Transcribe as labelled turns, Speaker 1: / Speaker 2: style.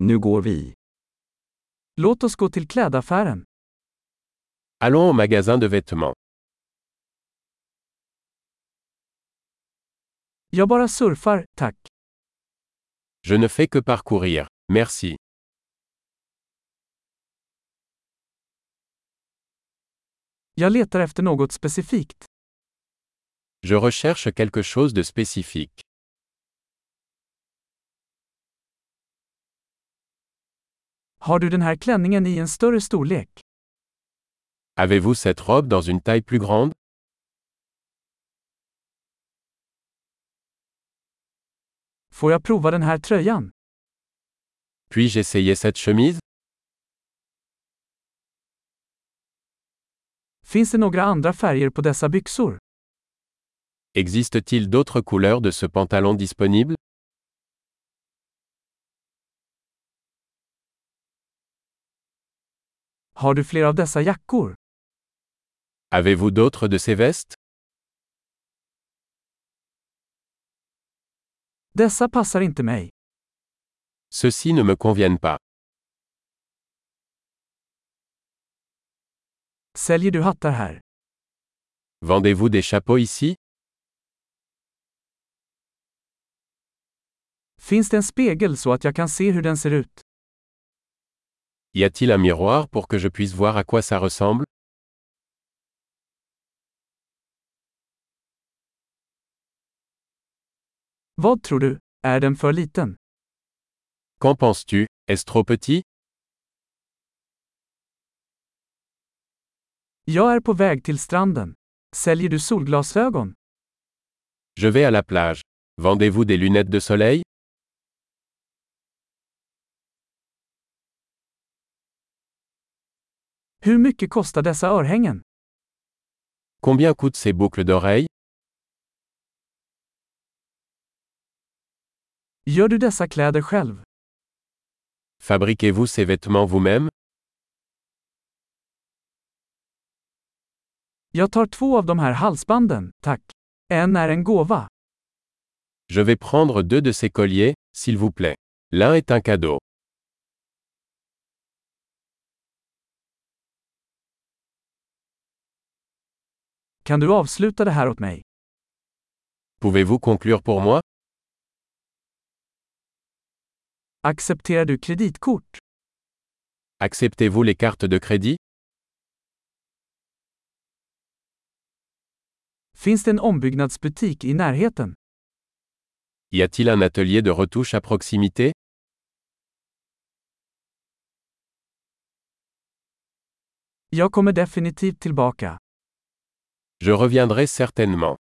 Speaker 1: Nu går vi.
Speaker 2: Låt oss gå till klädaffären.
Speaker 3: Allons au magasin de vêtements.
Speaker 2: Jag bara surfar, tack.
Speaker 3: Je ne fais que parcourir. Merci.
Speaker 2: Jag letar efter något specifikt.
Speaker 3: Je recherche quelque chose de spécifique.
Speaker 2: Har du den här klänningen i en större storlek?
Speaker 3: Avez-vous cette robe dans une taille plus grande
Speaker 2: Får jag prova den här tröjan?
Speaker 3: Puis-je essayer cette chemise
Speaker 2: Finns det några andra färger på dessa byxor?
Speaker 3: Existe-t-il d'autres couleurs de ce pantalon disponible
Speaker 2: Har du fler av dessa jackor?
Speaker 3: Avez-vous d'autres de ces vestes
Speaker 2: Dessa passar inte mig.
Speaker 3: Ceux-ci ne me conviennent pas.
Speaker 2: Säljer du hattar här?
Speaker 3: Vendez-vous des chapeaux ici
Speaker 2: Finns det en spegel så att jag kan se hur den ser ut?
Speaker 3: Y a-t-il un miroir pour que je puisse voir à quoi ça ressemble
Speaker 2: Vad tror du? Är den för liten?
Speaker 3: Qu'en penses-tu Est-ce trop petit
Speaker 2: Jag är på väg till stranden. Säljer du solglasögon?
Speaker 3: Je vais à la plage. Vendez-vous des lunettes de soleil
Speaker 2: Hur mycket kostar dessa örhängen?
Speaker 3: Combien coûtent ces boucles d'oreilles
Speaker 2: Gör du dessa kläder själv?
Speaker 3: Fabriquez-vous ces vêtements vous-même
Speaker 2: Jag tar två av de här halsbanden, tack. En är en gåva.
Speaker 3: Je vais prendre deux de ces colliers, s'il vous plaît. L'un est un cadeau.
Speaker 2: Kan du avsluta det här åt mig?
Speaker 3: Pouvez-vous conclure pour moi
Speaker 2: Accepterar du kreditkort?
Speaker 3: Acceptez-vous les cartes de crédit
Speaker 2: Finns det en ombyggnadsbutik i närheten?
Speaker 3: Y a-t-il un atelier de retouche à proximité
Speaker 2: Jag kommer definitivt tillbaka.
Speaker 3: Je reviendrai certainement.